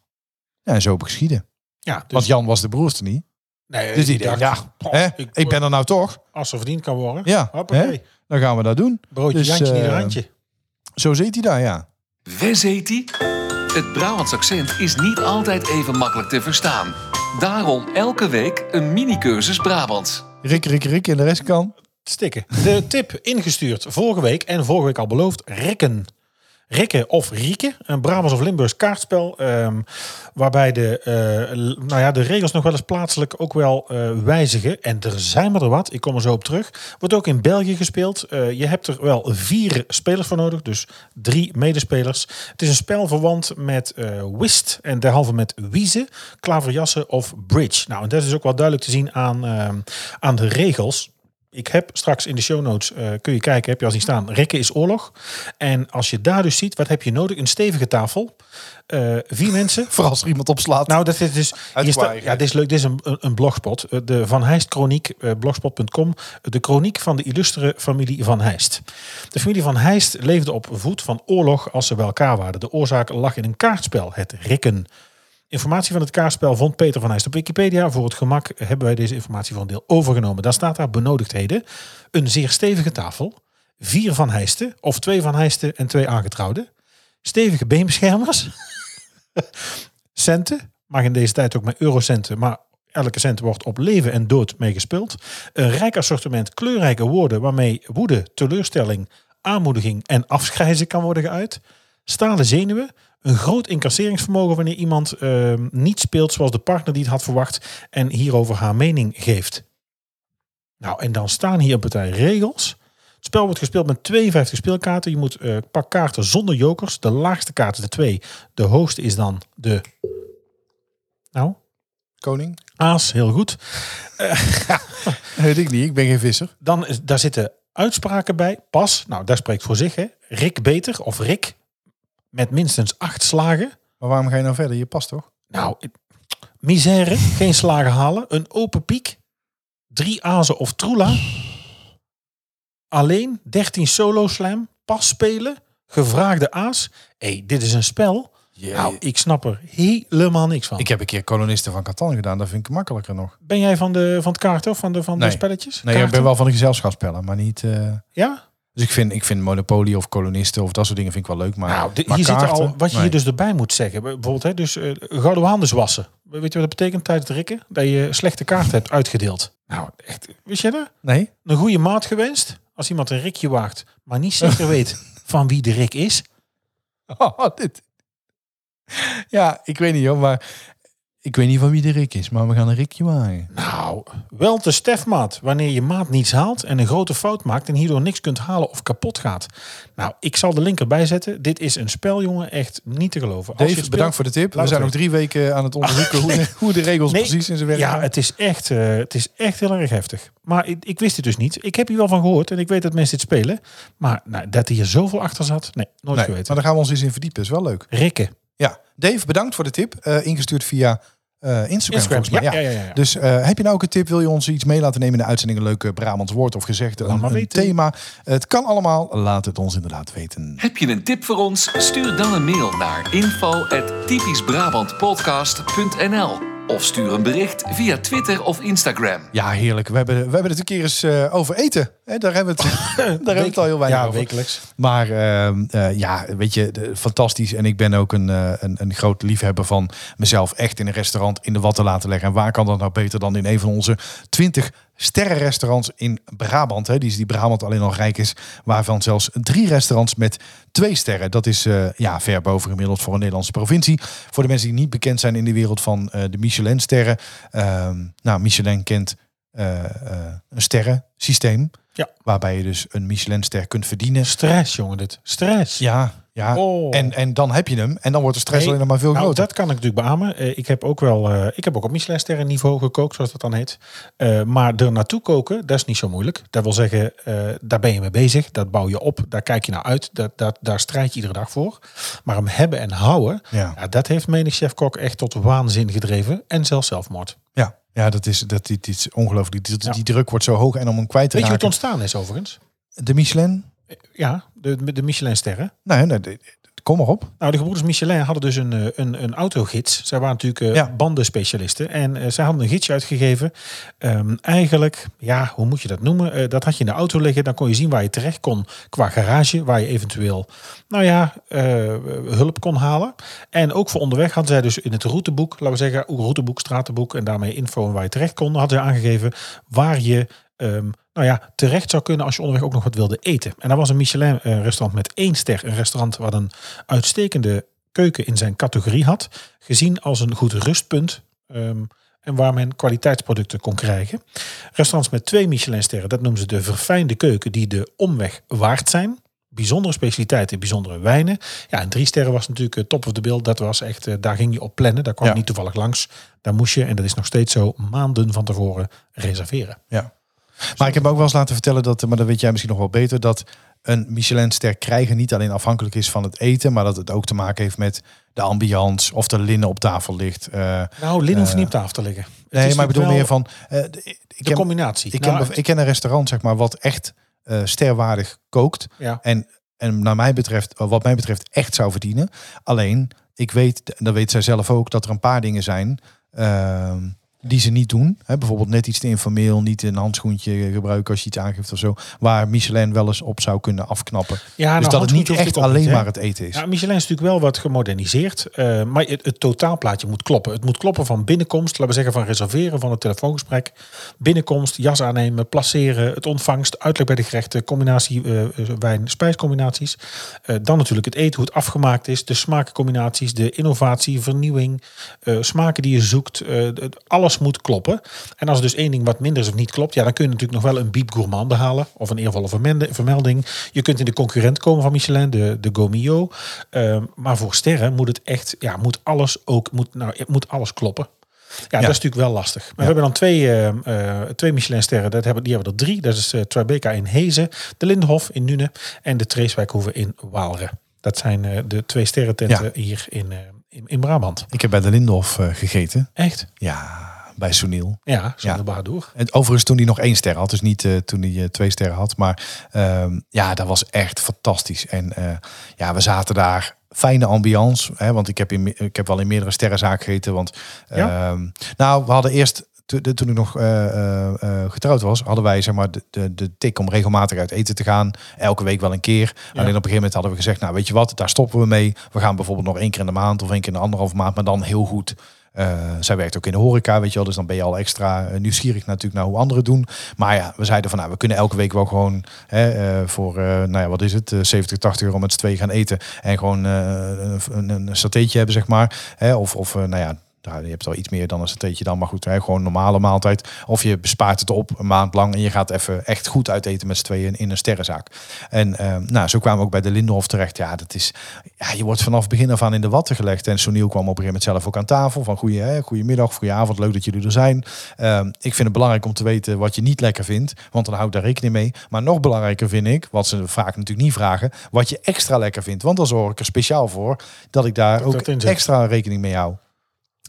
Ja, en zo geschieden. Ja, dus, Want Jan was de broerste niet. nee, Dus die ik denkt, dacht, ja, poh, hè, ik- ik ben er nou toch. Als er verdiend kan worden. Ja, Hoppakee. hè? Dan gaan we dat doen. Broodje Dus, Jantje, niet een eh, handje. Zo zit hij daar, ja. Wes heet die? Het Brabants accent is niet altijd even makkelijk te verstaan. Daarom elke week een mini-cursus Brabants. Rik, rik, rik en de rest kan. Stikken. De tip ingestuurd vorige week en vorige week al beloofd. Rikken. Rikken of Rieken, een Brabants of Limburgs kaartspel. ehm, waarbij de, eh, l- nou ja, de regels nog wel eens plaatselijk ook wel eh, wijzigen. En er zijn er wat, ik kom er zo op terug. Wordt ook in België gespeeld. Eh, je hebt er wel vier spelers voor nodig, dus drie medespelers. Het is een spel verwant met eh whist en derhalve met wiezen, klaverjassen of bridge. Nou, en dat is dus ook wel duidelijk te zien aan, ehm, aan de regels. Ik heb straks in de show notes, eh, kun je kijken, heb je als die staan, rekken is oorlog. En als je daar dus ziet, wat heb je nodig? Een stevige tafel, eh, vier mensen. Voor als er iemand opslaat. Nou, dat is dus. Uit hier sta- Kwaaier. ja, dit is leuk. Dit is een, een, een blogspot. Eh, De Van Heist Chroniek, eh, blogspot.com. De chroniek van de illustere familie Van Heist. De familie Van Heist leefde op voet van oorlog als ze bij elkaar waren. De oorzaak lag in een kaartspel, het rikken. Informatie van het kaartspel vond Peter van Heijst op Wikipedia. Voor het gemak hebben wij deze informatie voor een deel overgenomen. Daar staat daar benodigdheden. Een zeer stevige tafel. Vier van Heijsten of twee van Heijsten en twee aangetrouwden. Stevige beenbeschermers. centen. Mag in deze tijd ook met eurocenten. Maar elke cent wordt op leven en dood mee gespeeld. Een rijk assortiment kleurrijke woorden waarmee woede, teleurstelling, aanmoediging en afschrijzen kan worden geuit. Stalen zenuwen. Een groot incasseringsvermogen wanneer iemand eh, niet speelt zoals de partner die het had verwacht en hierover haar mening geeft. Nou, en dan staan hier een partij regels. Het spel wordt gespeeld met 52 speelkaarten. Je moet eh pak kaarten zonder jokers. De laagste kaart is de 2. De hoogste is dan de... Nou, Koning? aas, heel goed. Weet ik niet, ik ben geen visser. Dan is, daar zitten uitspraken bij. Pas, nou, daar spreekt voor zich, hè. Rick beter of Rick met minstens acht slagen. Maar waarom ga je nou verder? Je past toch? Nou, ik- misère, geen slagen halen, een open piek, drie azen of troela. Alleen 13 solo slam, pas spelen, gevraagde aas. Hé, hey, dit is een spel. Nou, ik snap er helemaal niks van. Ik heb een keer kolonisten van Catan gedaan. Dat vind ik makkelijker nog. ben jij van de, van het kaarten of van de, van Nee. de spelletjes? Nee, ik Kaarten? ben wel van de gezelschapsspellen, maar niet... eh, Ja? Dus ik vind, ik vind Monopoly of Kolonisten of dat soort dingen vind ik wel leuk. Maar, Nou, de- maar hier zit er kaarten? al wat je Nee. hier dus erbij moet zeggen. Bijvoorbeeld, hè, dus eh gouden handen wassen. Weet je wat dat betekent tijdens het rikken? Dat je slechte kaarten hebt uitgedeeld. Nou, echt, wist je dat? Nee? Een goede maat gewenst. Als iemand een rikje waagt, maar niet zeker weet van wie de rik is. Oh, dit. Ja, ik weet niet hoor, maar ik weet niet van wie de Rick is, maar we gaan een Rikje waaien. Nou, wel te stefmaat. Wanneer je maat niets haalt en een grote fout maakt en hierdoor niks kunt halen of kapot gaat. Nou, ik zal de link erbij zetten. Dit is een spel, jongen, echt niet te geloven. Als je Dave, het bedankt speelt- voor de tip. We Laat zijn nog het drie weken aan het onderzoeken hoe, de, hoe de regels Nee. precies in zijn werk Ja, gaan. het is, echt, eh, het is echt heel erg heftig. Maar ik, ik wist het dus niet. Ik heb hier wel van gehoord en ik weet dat mensen dit spelen. Maar nou, dat hier zoveel achter zat, nee, nooit Nee, maar geweten. daar gaan we ons eens in verdiepen. is wel leuk. Rikken. Ja, Dave, bedankt voor de tip. Eh, ingestuurd via eh, Instagram, Instagram, volgens mij. ja, ja, ja, ja. Dus eh, heb je nou ook een tip? Wil je ons iets mee laten nemen in de uitzending? Een leuke Brabants woord of gezegde? Een, maar een weten. thema? Het kan allemaal. Laat het ons inderdaad weten. Heb je een tip voor ons? Stuur dan een mail naar info@typischbrabantpodcast.nl of stuur een bericht via Twitter of Instagram. Ja, heerlijk. We hebben, we hebben het een keer eens eh, over eten. Hè, daar hebben we het, daar hebben we het al heel weinig Ja, over. wekelijks. Maar ehm, eh, ja, weet je, de- fantastisch. En ik ben ook een, eh, een, een groot liefhebber van mezelf echt in een restaurant in de wat te laten leggen. En waar kan dat nou beter dan in een van onze 20 sterrenrestaurants in Brabant. Hè, die, die Brabant alleen al rijk is. Waarvan zelfs drie restaurants met twee sterren. Dat is eh, ja, ver boven gemiddeld voor een Nederlandse provincie. Voor de mensen die niet bekend zijn in de wereld van eh, de Michelin-sterren. Ehm, nou, Michelin kent eh, eh, een sterrensysteem. Ja. Waarbij je dus een Michelinster kunt verdienen. Stress, jongen, dit. Stress. Ja, ja. Oh. En, en dan heb je hem. En dan wordt de stress Nee, alleen nog maar veel Nou, groter. dat kan ik natuurlijk beamen. Eh, ik heb ook wel, eh, ik heb ook op Michelin niveau gekookt, zoals dat dan heet. Eh, maar er naartoe koken, dat is niet zo moeilijk. Dat wil zeggen, eh, daar ben je mee bezig, dat bouw je op, daar kijk je naar uit, dat, dat, daar strijd je iedere dag voor. Maar hem hebben en houden, Ja. ja. dat heeft menig chef-kok echt tot waanzin gedreven en zelfs zelfmoord. Ja, ja dat, is, dat, dit is ongelooflijk. Die, die- die druk wordt zo hoog. En om hem kwijt te Weet je hoe het raken. ontstaan is overigens? de Michelin? Ja, de, de Michelin-sterren. Nee, nee, de- de- kom maar op. Nou, de gebroeders Michelin hadden dus een, eh, een, een autogids. Zij waren natuurlijk eh, Ja. bandenspecialisten. En eh, zij hadden een gidsje uitgegeven. Ehm, eigenlijk, ja, hoe moet je dat noemen? Eh, dat had je in de auto liggen. Dan kon je zien waar je terecht kon qua garage. Waar je eventueel, nou ja, eh, hulp kon halen. En ook voor onderweg hadden zij dus in het routeboek, laten we zeggen, routeboek, stratenboek. En daarmee info en waar je terecht kon. Hadden zij aangegeven waar je ehm, nou ja, terecht zou kunnen als je onderweg ook nog wat wilde eten. En dat was een Michelin-restaurant met één ster. Een restaurant wat een uitstekende keuken in zijn categorie had. Gezien als een goed rustpunt. ehm, en waar men kwaliteitsproducten kon krijgen. Restaurants met twee Michelinsterren, dat noemen ze de verfijnde keuken die de omweg waard zijn. Bijzondere specialiteiten, bijzondere wijnen. Ja, en drie sterren was natuurlijk eh, top of the bill. Dat was echt, eh, daar ging je op plannen. Daar kwam Ja. niet toevallig langs. Daar moest je, en dat is nog steeds zo, maanden van tevoren reserveren. Ja. Maar ik heb me ook wel eens laten vertellen dat, eh, maar dat weet jij misschien nog wel beter, dat een Michelinster krijgen niet alleen afhankelijk is van het eten, maar dat het ook te maken heeft met de ambiance of de linnen op tafel ligt. Eh, Nou, Lin hoeft niet op tafel te liggen. Het nee, is maar ik bedoel wel meer van. eh, d- ik de heb, combinatie. ik, Nou, ken, het- ik ken een restaurant zeg maar wat echt eh, sterwaardig kookt. ja. En, en naar mij betreft, eh, wat mij betreft, echt zou verdienen. Alleen, ik weet, en dat weet zij zelf ook, dat er een paar dingen zijn ehm, die ze niet doen. Hè, bijvoorbeeld net iets te informeel, niet een handschoentje gebruiken als je iets aangeeft of zo. Waar Michelin wel eens op zou kunnen afknappen. Ja, nou, dus dat het handschoentje niet hoeft echt ook niet, alleen hè? maar het eten is. Ja, Michelin is natuurlijk wel wat gemoderniseerd. eh, maar het, het totaalplaatje moet kloppen. Het moet kloppen van binnenkomst, laten we zeggen van reserveren van het telefoongesprek. Binnenkomst, jas aannemen, placeren, het ontvangst, uitleg bij de gerechten, combinatie eh, wijn-spijscombinaties. Eh, dan natuurlijk het eten, hoe het afgemaakt is, de smakencombinaties, de innovatie, vernieuwing, eh, smaken die je zoekt. eh, het- alles moet kloppen. En als er dus één ding wat minder is of niet klopt, ja, dan kun je natuurlijk nog wel een biep gourmand halen of een eervolle vermende- vermelding. Je kunt in de concurrent komen van Michelin, de, de Gomio. Ehm, maar voor sterren moet het echt, ja, moet alles ook, moet, nou, het moet alles kloppen. Ja, dat is natuurlijk wel lastig. Maar we hebben dan twee, ehm, eh, twee Michelinsterren. Dat hebben, die hebben er drie. Dat is eh Tribeca in Hezen, de Lindenhof in Nune en de Treeswijkhoeve in Waalre. Dat zijn eh, de twee sterrententen hier in, eh, in, in Brabant. Ik heb bij de Lindenhof eh, gegeten. Echt? Ja, bij Sunil. Ja, zonder Ja. Bahadur. En overigens toen hij nog één ster had, dus niet eh, toen hij eh, twee sterren had. Maar ehm, ja, dat was echt fantastisch. En eh, ja, we zaten daar. Fijne ambiance, hè, want ik heb, in, me- ik heb wel in meerdere sterrenzaken gegeten. Want Ja? ehm, nou, we hadden eerst, to- de- toen ik nog eh, eh, eh, getrouwd was, hadden wij zeg maar de, de, de tik om regelmatig uit eten te gaan. Elke week wel een keer. Alleen op een gegeven moment hadden we gezegd, nou weet je wat, daar stoppen we mee. We gaan bijvoorbeeld nog één keer in de maand of één keer in de anderhalf maand, maar dan heel goed. Eh, zij werkt ook in de horeca, weet je wel. Dus dan ben je al extra eh, nieuwsgierig natuurlijk naar hoe anderen doen. Maar ja, we zeiden van nou, we kunnen elke week wel gewoon hè, eh, voor, eh, nou ja, wat is het, eh, 70, 80 euro met z'n tweeën gaan eten. En gewoon eh, een, een, een satéetje hebben, zeg maar. Hè, of, of eh, nou ja, nou, je hebt al iets meer dan een satéetje dan, maar goed, hè, gewoon een normale maaltijd. Of je bespaart het op een maand lang en je gaat even echt goed uit eten met z'n tweeën in een sterrenzaak. En eh, nou, zo kwamen we ook bij de Lindenhof terecht. Ja, dat is, ja, je wordt vanaf begin af aan in de watten gelegd. En Soniel kwam op een gegeven moment zelf ook aan tafel van goeie, hè, goedemiddag, goedenavond, leuk dat jullie er zijn. Ehm, ik vind het belangrijk om te weten wat je niet lekker vindt, want dan houd daar rekening mee. Maar nog belangrijker vind ik, wat ze vaak natuurlijk niet vragen, wat je extra lekker vindt. Want dan zorg ik er speciaal voor dat ik daar Dat ook dat in zit. extra rekening mee hou.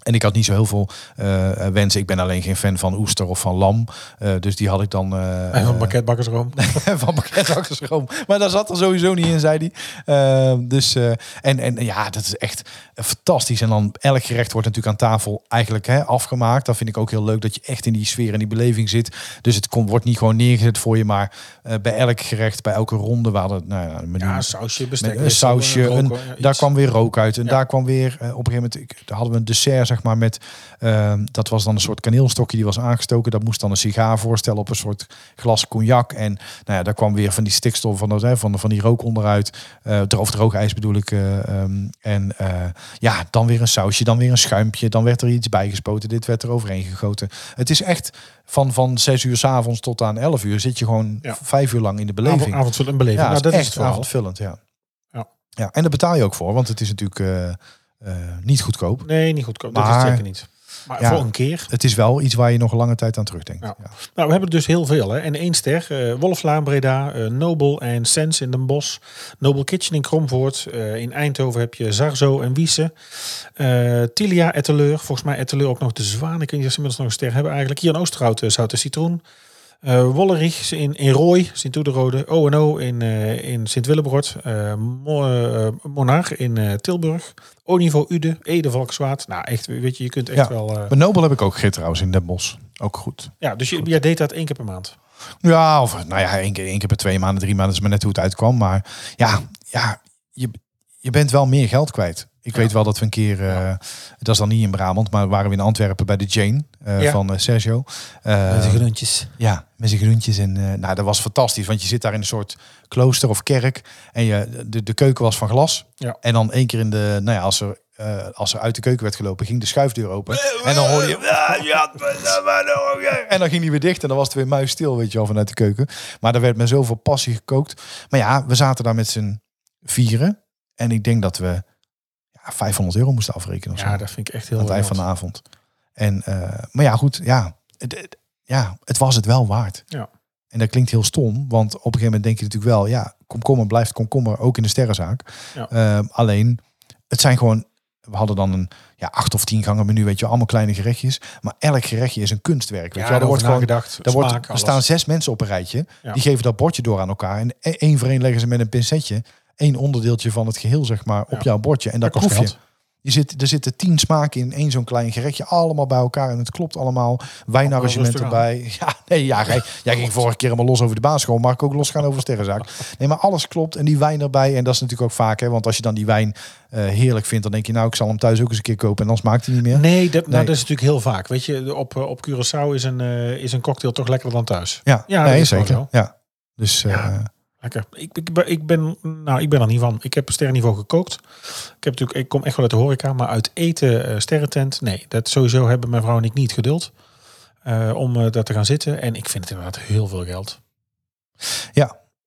En ik had niet zo heel veel eh, wensen. Ik ben alleen geen fan van oester of van lam. Eh, dus die had ik dan... eh, En een eh, pakket bakkersroom. van pakketbakkersroom. Maar daar zat er sowieso niet in, zei hij. Eh, dus, eh, en, en ja, dat is echt fantastisch. En dan elk gerecht wordt natuurlijk aan tafel eigenlijk hè, afgemaakt. Dat vind ik ook heel leuk, dat je echt in die sfeer en die beleving zit. Dus het komt, wordt niet gewoon neergezet voor je, maar eh, bij elk gerecht, bij elke ronde, we hadden nou, ja, een menu Ja, een sausje, bestek. eh, met een sausje. roken, een- ja, daar iets. kwam weer rook uit. En daar kwam weer, eh, op een gegeven moment ik, daar hadden we een dessert, zeg maar, met, ehm, dat was dan een soort kaneelstokje die was aangestoken. Dat moest dan een sigaar voorstellen op een soort glas cognac. En nou ja, daar kwam weer van die stikstof, van, dat, hè, van, van die rook onderuit. eh droog, droog ijs bedoel ik. eh, ehm, en eh, ja, dan weer een sausje, dan weer een schuimpje. Dan werd er iets bijgespoten, dit werd er overheen gegoten. Het is echt van, van zes uur s'avonds tot aan elf uur zit je gewoon Ja. vijf uur lang in de beleving. Avond, avondvullend en beleving. Ja, nou, dat dat echt is het verhaal. avondvullend, ja. Ja. ja. En daar betaal je ook voor, want het is natuurlijk eh, eh, niet goedkoop. Nee, niet goedkoop. dat is Maar- het zeker niet. Maar Ja. voor een keer. Het is wel iets waar je nog een lange tijd aan terugdenkt. Ja. Ja. Nou, we hebben er dus heel veel. Hè. En één ster. eh, Wolflaan, Breda, eh, Nobel en Sens in Den Bosch. Nobel Kitchen in Kromvoort. eh, in Eindhoven heb je Zarzo en Wiese. Eh, Tilia, Etteleur. Volgens mij Etteleur ook nog de Zwaan. Ik weet niet of ze inmiddels nog een ster hebben eigenlijk. Hier in Oosterhout, eh, Zout en Citroen. Eh Wollerich in, in Rooi, Sint-Oederode. O&O in, eh, in Sint-Willebrod. eh Mo- eh, Monarch in eh, Tilburg. Oniveau Ude, Ede, Valkswaard. Nou, echt, weet je, je kunt echt Ja. wel... eh, Maar Nobel heb ik ook gegeten trouwens in Den Bosch. Ook goed. ja, dus je, jij deed dat één keer per maand. Ja, of nou ja, één keer, één keer per twee maanden, drie maanden is maar net hoe het uitkwam. Maar ja, ja je, je bent wel meer geld kwijt. Ik weet wel dat we een keer, eh, dat is dan niet in Brabant, maar waren we in Antwerpen bij de Jane eh, Ja. van eh, Sergio. Eh, groentjes. Ja, met zijn groentjes. En eh, nou, dat was fantastisch. Want je zit daar in een soort klooster of kerk. En je, de, de keuken was van glas. Ja. En dan één keer in de... Nou ja, als er, eh, als er uit de keuken werd gelopen, ging de schuifdeur open. En dan hoorde je... "Ah, ja, maar nou, ja." En dan ging die weer dicht. En dan was het weer muisstil, weet je wel, vanuit de keuken. Maar daar werd met zoveel passie gekookt. Maar ja, we zaten daar met z'n vieren. En ik denk dat we ja, 500 euro moesten afrekenen. Of zo Ja, dat vind ik echt heel aan het eind van gênant. de avond. En, eh, maar ja, goed, ja het, het- ja, het was het wel waard. Ja. En dat klinkt heel stom, want op een gegeven moment denk je natuurlijk wel, ja, komkommer blijft komkommer, ook in de sterrenzaak. Ja. Ehm, alleen, het zijn gewoon, we hadden dan een ja, acht of tien gangen menu, weet je, wel, allemaal kleine gerechtjes. Maar elk gerechtje is een kunstwerk, weet je. wel. Er wordt gewoon gedacht. daar wordt, er staan zes mensen op een rijtje. Ja. Die geven dat bordje door aan elkaar. En e- één voor één leggen ze met een pincetje één onderdeeltje van het geheel, zeg maar, op Ja. jouw bordje. En dat, Dat kost proef je. geld. Je zit, er zitten tien smaken in één zo'n klein gerechtje. Allemaal bij elkaar. En het klopt allemaal. Wijnarrangement rustig aan. erbij. Ja, nee, ja, jij, jij ging vorige keer helemaal los over de basisschool. Maar ik ook los gaan over de sterrenzaak. Nee, maar alles klopt. En die wijn erbij. En dat is natuurlijk ook vaak. Hè, want als je dan die wijn eh, heerlijk vindt. Dan denk je, nou, ik zal hem thuis ook eens een keer kopen. En dan smaakt hij niet meer. Nee, dat, Nee. Nou, dat is natuurlijk heel vaak. Weet je, op, eh, op Curaçao is een, eh, is een cocktail toch lekkerder dan thuis. Ja, Ja, dat nee, is gewoon zeker. Ja. Dus eh, Ja. Lekker. Ik, ik, ben- ik, ben, nou, ik ben er niet van. Ik heb sterrenniveau gekookt. Ik, heb natuurlijk, ik kom echt wel uit de horeca, maar uit eten, eh sterrentent. Nee, dat sowieso hebben mijn vrouw en ik niet geduld. eh, om eh, daar te gaan zitten. En ik vind het inderdaad heel veel geld.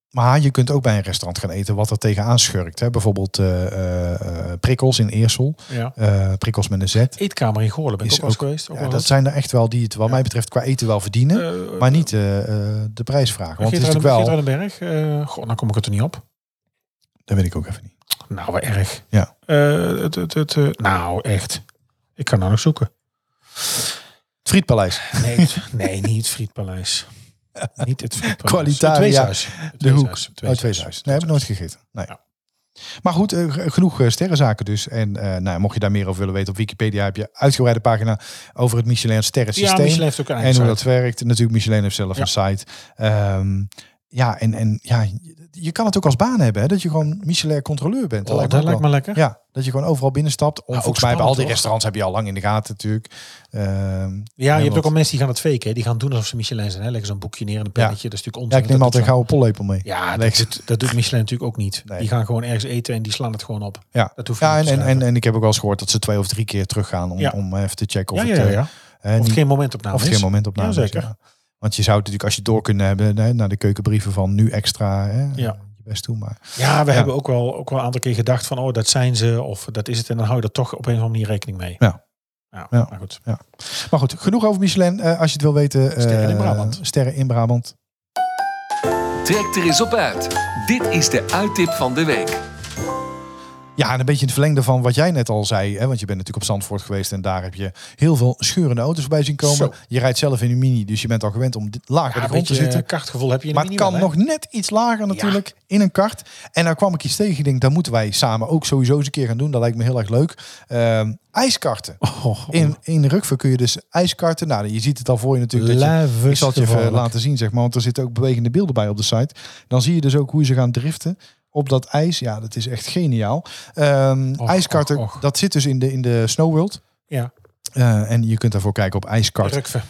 Maar je kunt ook bij een restaurant gaan eten wat er tegenaan schurkt. Hè? Bijvoorbeeld eh, eh, eh, prikkels in Eersel. Ja. Eh, prikkels met een Z. Eetkamer in Goorlen ben ik ook Is wel eens ook- geweest. Ook Ja, wel dat eens. zijn er echt wel die het wat mij betreft qua eten wel verdienen. Eh, maar niet eh, eh, de prijs vragen. Want het is Geert natuurlijk wel... Ruidenberg. Berg. eh goh, dan kom ik het er niet op. Dat weet ik ook even niet. Nou, wat erg. Ja. Eh, het, het, het, eh, nou, echt. Ik kan nou nog zoeken. Frietpaleis. Oh, Nee, nee niet het Frietpaleis. Niet het Frietpaleis. Qualitaria, Het Weeshuis. Het De hoek. Weeshuis. Het Uit Weeshuis. Tweeshuis. Nee, heb ik nooit gegeten. Nee. Ja. Maar goed, eh, g- genoeg eh, sterrenzaken dus. En eh, nou, mocht je daar meer over willen weten, op Wikipedia heb je een uitgebreide pagina over het Michelin sterrensysteem. Ja, Michelin heeft ook een en eigen hoe site. dat werkt. Natuurlijk, Michelin heeft zelf Ja. een site. Ehm, ja, en, en ja, je- je kan het ook als baan hebben, hè, dat je gewoon Michelin-controleur bent. Oh, dat ook lijkt wel. me lekker. Nou, Ja, dat je gewoon overal binnenstapt. Of ook volgens mij bij al spannend, die hoor. restaurants heb je al lang in de gaten natuurlijk. Ehm, Ja, je en hebt wat- ook al mensen die gaan het faken. hè. Die gaan doen alsof ze Michelin zijn. Hè. Leggen zo'n boekje neer en een pennetje. Dat is natuurlijk ja, onzin. ik neem Dat altijd een doet gouden pollepel mee. zo- Ja, Leg- dat, doet- dat doet Michelin natuurlijk ook niet. Nee. Die gaan gewoon ergens eten en die slaan het gewoon op. Ja, Dat hoef je ja niet en, te en, en, schrijven. en ik heb ook wel eens gehoord dat ze twee of drie keer teruggaan om, Ja. om even te checken of ja, het, ja, eh, ja. eh, Of niet- het geen momentopname of het is. geen momentopname is, Jazeker. ja. Want je zou het natuurlijk als je het door kunnen hebben hè, naar de keukenbrieven van nu extra hè, Ja. je best doen. Maar Ja, we Ja. hebben ook wel, ook wel een aantal keer gedacht van... oh, dat zijn ze of dat is het. En dan hou je er toch op een of andere manier rekening mee. Ja. Ja, Ja. maar goed. Maar goed, genoeg over Michelin. Eh, als je het wil weten. eh, Sterren in Brabant. Sterren in Brabant. Trek er eens op uit. Dit is de uittip van de week. Ja, en een beetje in het verlengde van wat jij net al zei. Hè, want je bent natuurlijk op Zandvoort geweest. En daar heb je heel veel scheurende auto's voorbij zien komen. Zo. Je rijdt zelf in een mini. Dus je bent al gewend om dit- laag bij Ja, de een grond te beetje zitten. eh, kartgevoel heb je in de Maar het mini kan wel, hè? nog net iets lager natuurlijk in een kart. En daar kwam ik iets tegen. Ik denk, daar moeten wij samen ook sowieso eens een keer gaan doen. Dat lijkt me heel erg leuk. Ehm, ijskarten. Oh, In, in Rukver kun je dus ijskarten. Nou, je ziet het al voor je natuurlijk. Dat je, ik zal het je even Lijfestevormelijk. laten zien, zeg maar. Want er zitten ook bewegende beelden bij op de site. Dan zie je dus ook hoe ze gaan driften op dat ijs. Ja, dat is echt geniaal. Ehm Och, ijskarten, och, och. dat zit dus in de, in de Snow World. Ja, Eh, en je kunt daarvoor kijken op ijskart.nl. Rukve,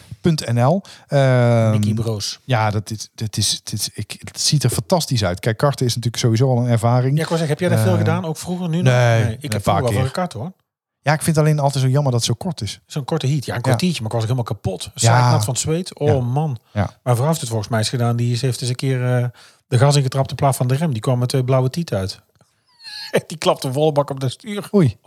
Ehm, Nicky Broos. ja, dat is, dit is, dit is, ik, het ziet er fantastisch uit. Kijk, karten is natuurlijk sowieso al een ervaring. Ja, Ja, ik wou zeggen, heb jij dat veel eh, gedaan? Ook vroeger, nu nee, nog? een ik heb paar vroeger wel keer. voor gekart hoor. ik vind het alleen altijd zo jammer dat het zo kort is. Zo'n korte heat. Ja, een Ja. kwartiertje, maar ik was ook helemaal kapot. Zaaknat van het zweet. Oh Ja. man. Ja. Maar vrouw heeft het volgens mij eens gedaan. Die is- heeft eens een keer eh, de gas ingetrapt in plaats van de rem. Die kwam met twee blauwe tiet uit. die klapte volle bak op de stuur. Oei.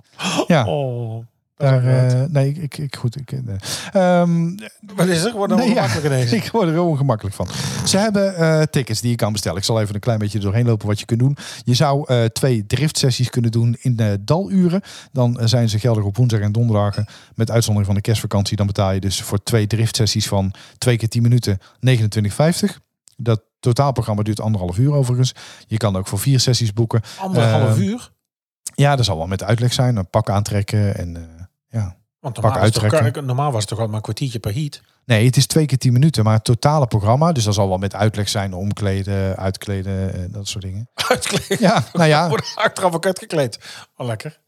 Ja, Oh. daar, inderdaad. eh, nee, ik, ik, ik- goed. Ik, eh, nee. Ehm, Wat is er? Wordt dan Nee, ja. makkelijk ineens. ik word er heel ongemakkelijk van. Ze hebben eh, tickets die je kan bestellen. Ik zal even een klein beetje doorheen lopen wat je kunt doen. Je zou eh, twee driftsessies kunnen doen in de daluren. Dan eh, zijn ze geldig op woensdag en donderdagen. Met uitzondering van de kerstvakantie. Dan betaal je dus voor twee driftsessies van twee keer 10 minuten 29,50. Dat totaalprogramma duurt anderhalf uur overigens. Je kan ook voor vier sessies boeken. Anderhalf Eh, uur. Ja, dat zal wel met uitleg zijn. Een pak aantrekken en... eh, Want pak normaal, was het toch, uittrekken. kar- normaal was het toch wel maar een kwartiertje per heat. Nee, het is twee keer 10 minuten, maar het totale programma. Dus dat zal wel met uitleg zijn, omkleden, uitkleden, eh, dat soort dingen. Uitkleed. Ja, nou ja, Wordt achteraf ook uitgekleed. Wel lekker.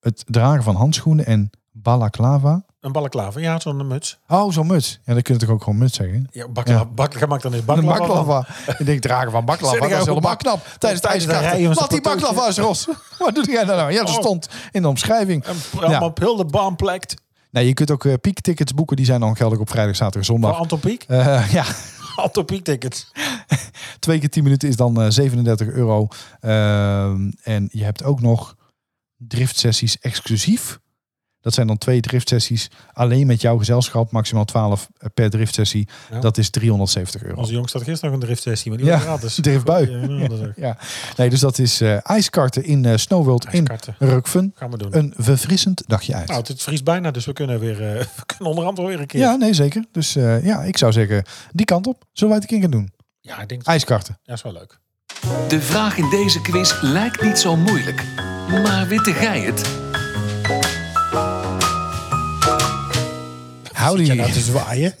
het dragen van handschoenen en balaclava. Een balklaver. Ja, zo'n muts. Oh, zo'n muts. Ja, dan kun je toch ook gewoon muts zeggen. Ja, bakla, Ja. Bak, maakt dan eens Een baklava. van. baklava. Ik denk, dragen van Zeg, baklava, dat is jij helemaal ook knap. Tijdens Tijdens de de rij, ijskrachten. jongens, Wat die op het baklava is, Ros. Wat doe jij nou nou? Ja, dat Oh. stond in de omschrijving. En allemaal op heel de baan plekt. Nee, je kunt ook eh, piektickets boeken. Die zijn dan geldig op vrijdag, zaterdag Voor en zondag. Anton Pieck. Eh, ja, Anton Pieck tickets. Twee keer 10 minuten is dan eh, 37 euro. Ehm, en je hebt ook nog driftsessies exclusief. Dat zijn dan twee driftsessies alleen met jouw gezelschap. Maximaal 12 per driftsessie. Ja. Dat is 370 euro. Onze jongst had gisteren nog een driftsessie, maar die was Ja, gratis. driftbui. Ja, nou, dat is ook. Ja. Nee, dus dat is eh ijskarten in eh Snow World Ijskarten. in Rukven. Gaan we doen. Een verfrissend dagje uit. nou, het- het vriest bijna, dus we kunnen weer, eh, we kunnen onderhand wel weer een keer. ja, nee, zeker. Dus eh, ja, ik zou zeggen, die kant op. Zullen wij het een keer gaan doen? Ja, ik denk, ja, Ijskarten. is wel leuk. De vraag in deze quiz lijkt niet zo moeilijk. Maar witte gij het? Hou Zit die. jij nou te zwaaien?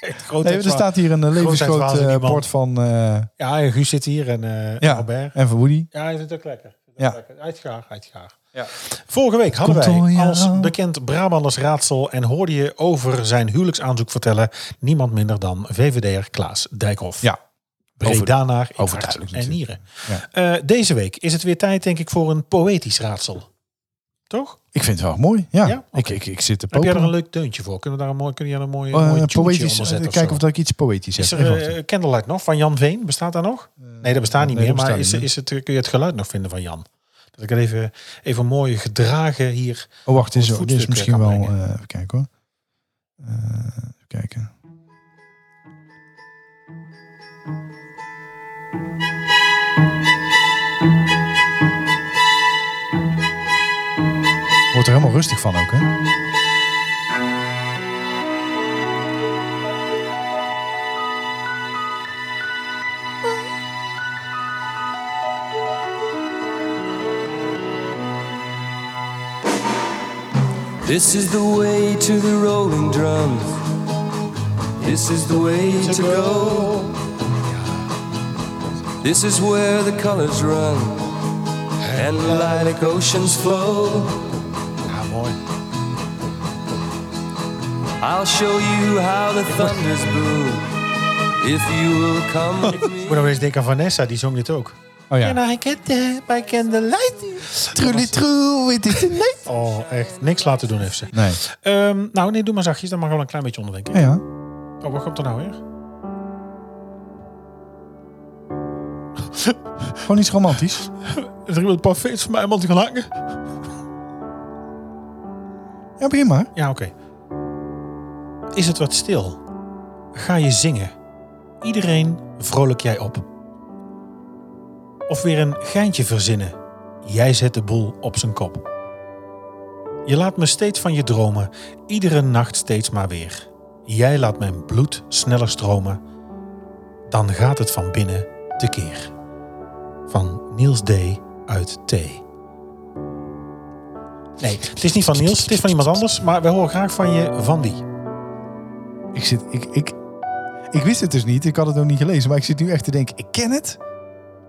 Echt groot Nee, er staat hier een eh, levensgroot Grootheidswaanzin, eh, die man. bord van, eh, Ja, en Guus zit hier en eh Ja. Robert. en van Woody. Ja, hij vindt het ook lekker. Ja. Ja. Uitgaar, uitgaar. Vorige week hadden Komt door wij jou. als bekend Brabanders raadsel en hoorde je over zijn huwelijksaanzoek vertellen niemand minder dan VVD'er Klaas Dijkhoff. Ja, Bredanaar in overduidelijk hart en nieren. natuurlijk. Eh, deze week is het weer tijd, denk ik, voor een poëtisch raadsel. Toch? Ik vind het wel mooi. Ja, Ja? ik, Oké. ik, ik zit te Heb jij er popelen. een leuk deuntje voor? Kunnen we daar een mooi, kun je daar een mooie, Eh, mooie tunetje poëtisch. onder zetten? eh, kijken of dat dat ik iets poëtisch heb. is Even er wachten. eh, Candlelight nog van Jan Veen? Bestaat daar nog? Eh, Nee, dat bestaat niet nee, meer. dat Maar bestaat is, niet is het, kun je het geluid nog vinden van Jan? Dat ik het even, even mooi gedragen hier. oh, wacht eens. het Dit is voetstuk, eh, misschien kan wel. brengen. eh, even kijken hoor. Eh, even kijken. Wordt er helemaal rustig van ook, hè? This is the way to the rolling drums. This is the way to go. This is where the colors run and the lilac oceans flow. Ja, mooi. I'll show you how the thunders boom if you will come with me. Ik moet nog eens denken aan Vanessa, die zong dit ook. Oh ja. I get the, I can the light. Truly true, it is light. Oh, echt. Niks laten doen heeft ze. Nee. Ehm, nou, nee, doe maar zachtjes. Dan mag wel een klein beetje onderdenken. Ja, ja. Oh, wat komt er nou weer? Gewoon iets romantisch. Er is een parfait voor mij iemand gaan hangen. Ja, begin maar. Ja, oké. Is het wat stil? Ga je zingen? Iedereen vrolijk jij op. Of weer een geintje verzinnen. Jij zet de boel op zijn kop. Je laat me steeds van je dromen, iedere nacht steeds maar weer. Jij laat mijn bloed sneller stromen. Dan gaat het van binnen tekeer. Van Niels D. uit T. Nee, het is niet van Niels, het is van iemand anders, maar we horen graag van je van die. Ik zit, ik, ik, ik wist het dus niet. Ik had het ook niet gelezen. Maar ik zit nu echt te denken, ik ken het.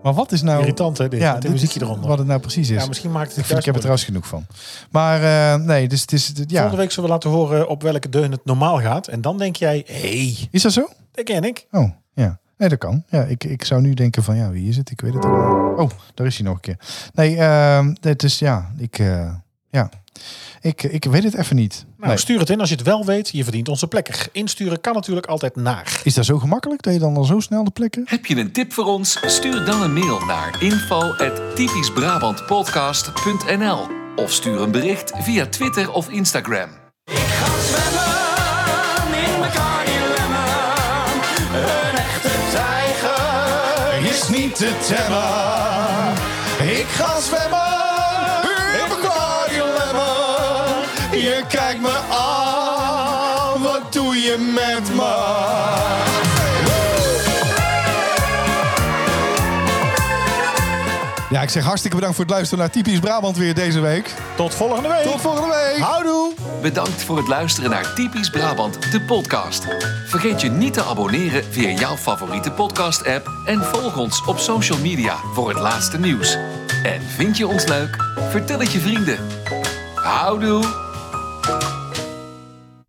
Maar wat is nou... Irritant, hè, dit, ja, met de dit muziekje is eronder. Wat het nou precies is. Ja, misschien maakt het ik, vind, ik heb er trouwens. trouwens genoeg van. Maar eh, nee, dus het is... het- Ja. Volgende week zullen we laten horen op welke deun het normaal gaat. En dan denk jij, hé, hey, Is dat zo? dat ken ik. Oh, ja. Nee, dat kan. Ja, ik, ik zou nu denken van, ja, wie is het? Ik weet het ook niet. Oh, daar is hij nog een keer. Nee, ehm het is, ja, ik, eh, ja. Ik, ik weet het even niet. Nou, Nee. stuur het in als je het wel weet. Je verdient onze plekker. Insturen kan natuurlijk altijd naar. Is dat zo gemakkelijk dat je dan al zo snel de plekken... Heb je een tip voor ons? Stuur dan een mail naar info@typischbrabantpodcast.nl of stuur een bericht via Twitter of Instagram. zwemmen in elkaar dilemma's. Een echte tijger. is niet te temmen. Ik ga zwemmen in mijn kardiolemmer. Je kijkt me aan, wat doe je met me? Ja, ik zeg hartstikke bedankt voor het luisteren naar Typisch Brabant weer deze week. Tot volgende week. Tot volgende week. Houdoe. Bedankt voor het luisteren naar Typisch Brabant, de podcast. Vergeet je niet te abonneren via jouw favoriete podcast-app en volg ons op social media voor het laatste nieuws. En vind je ons leuk? Vertel het je vrienden. Houdoe!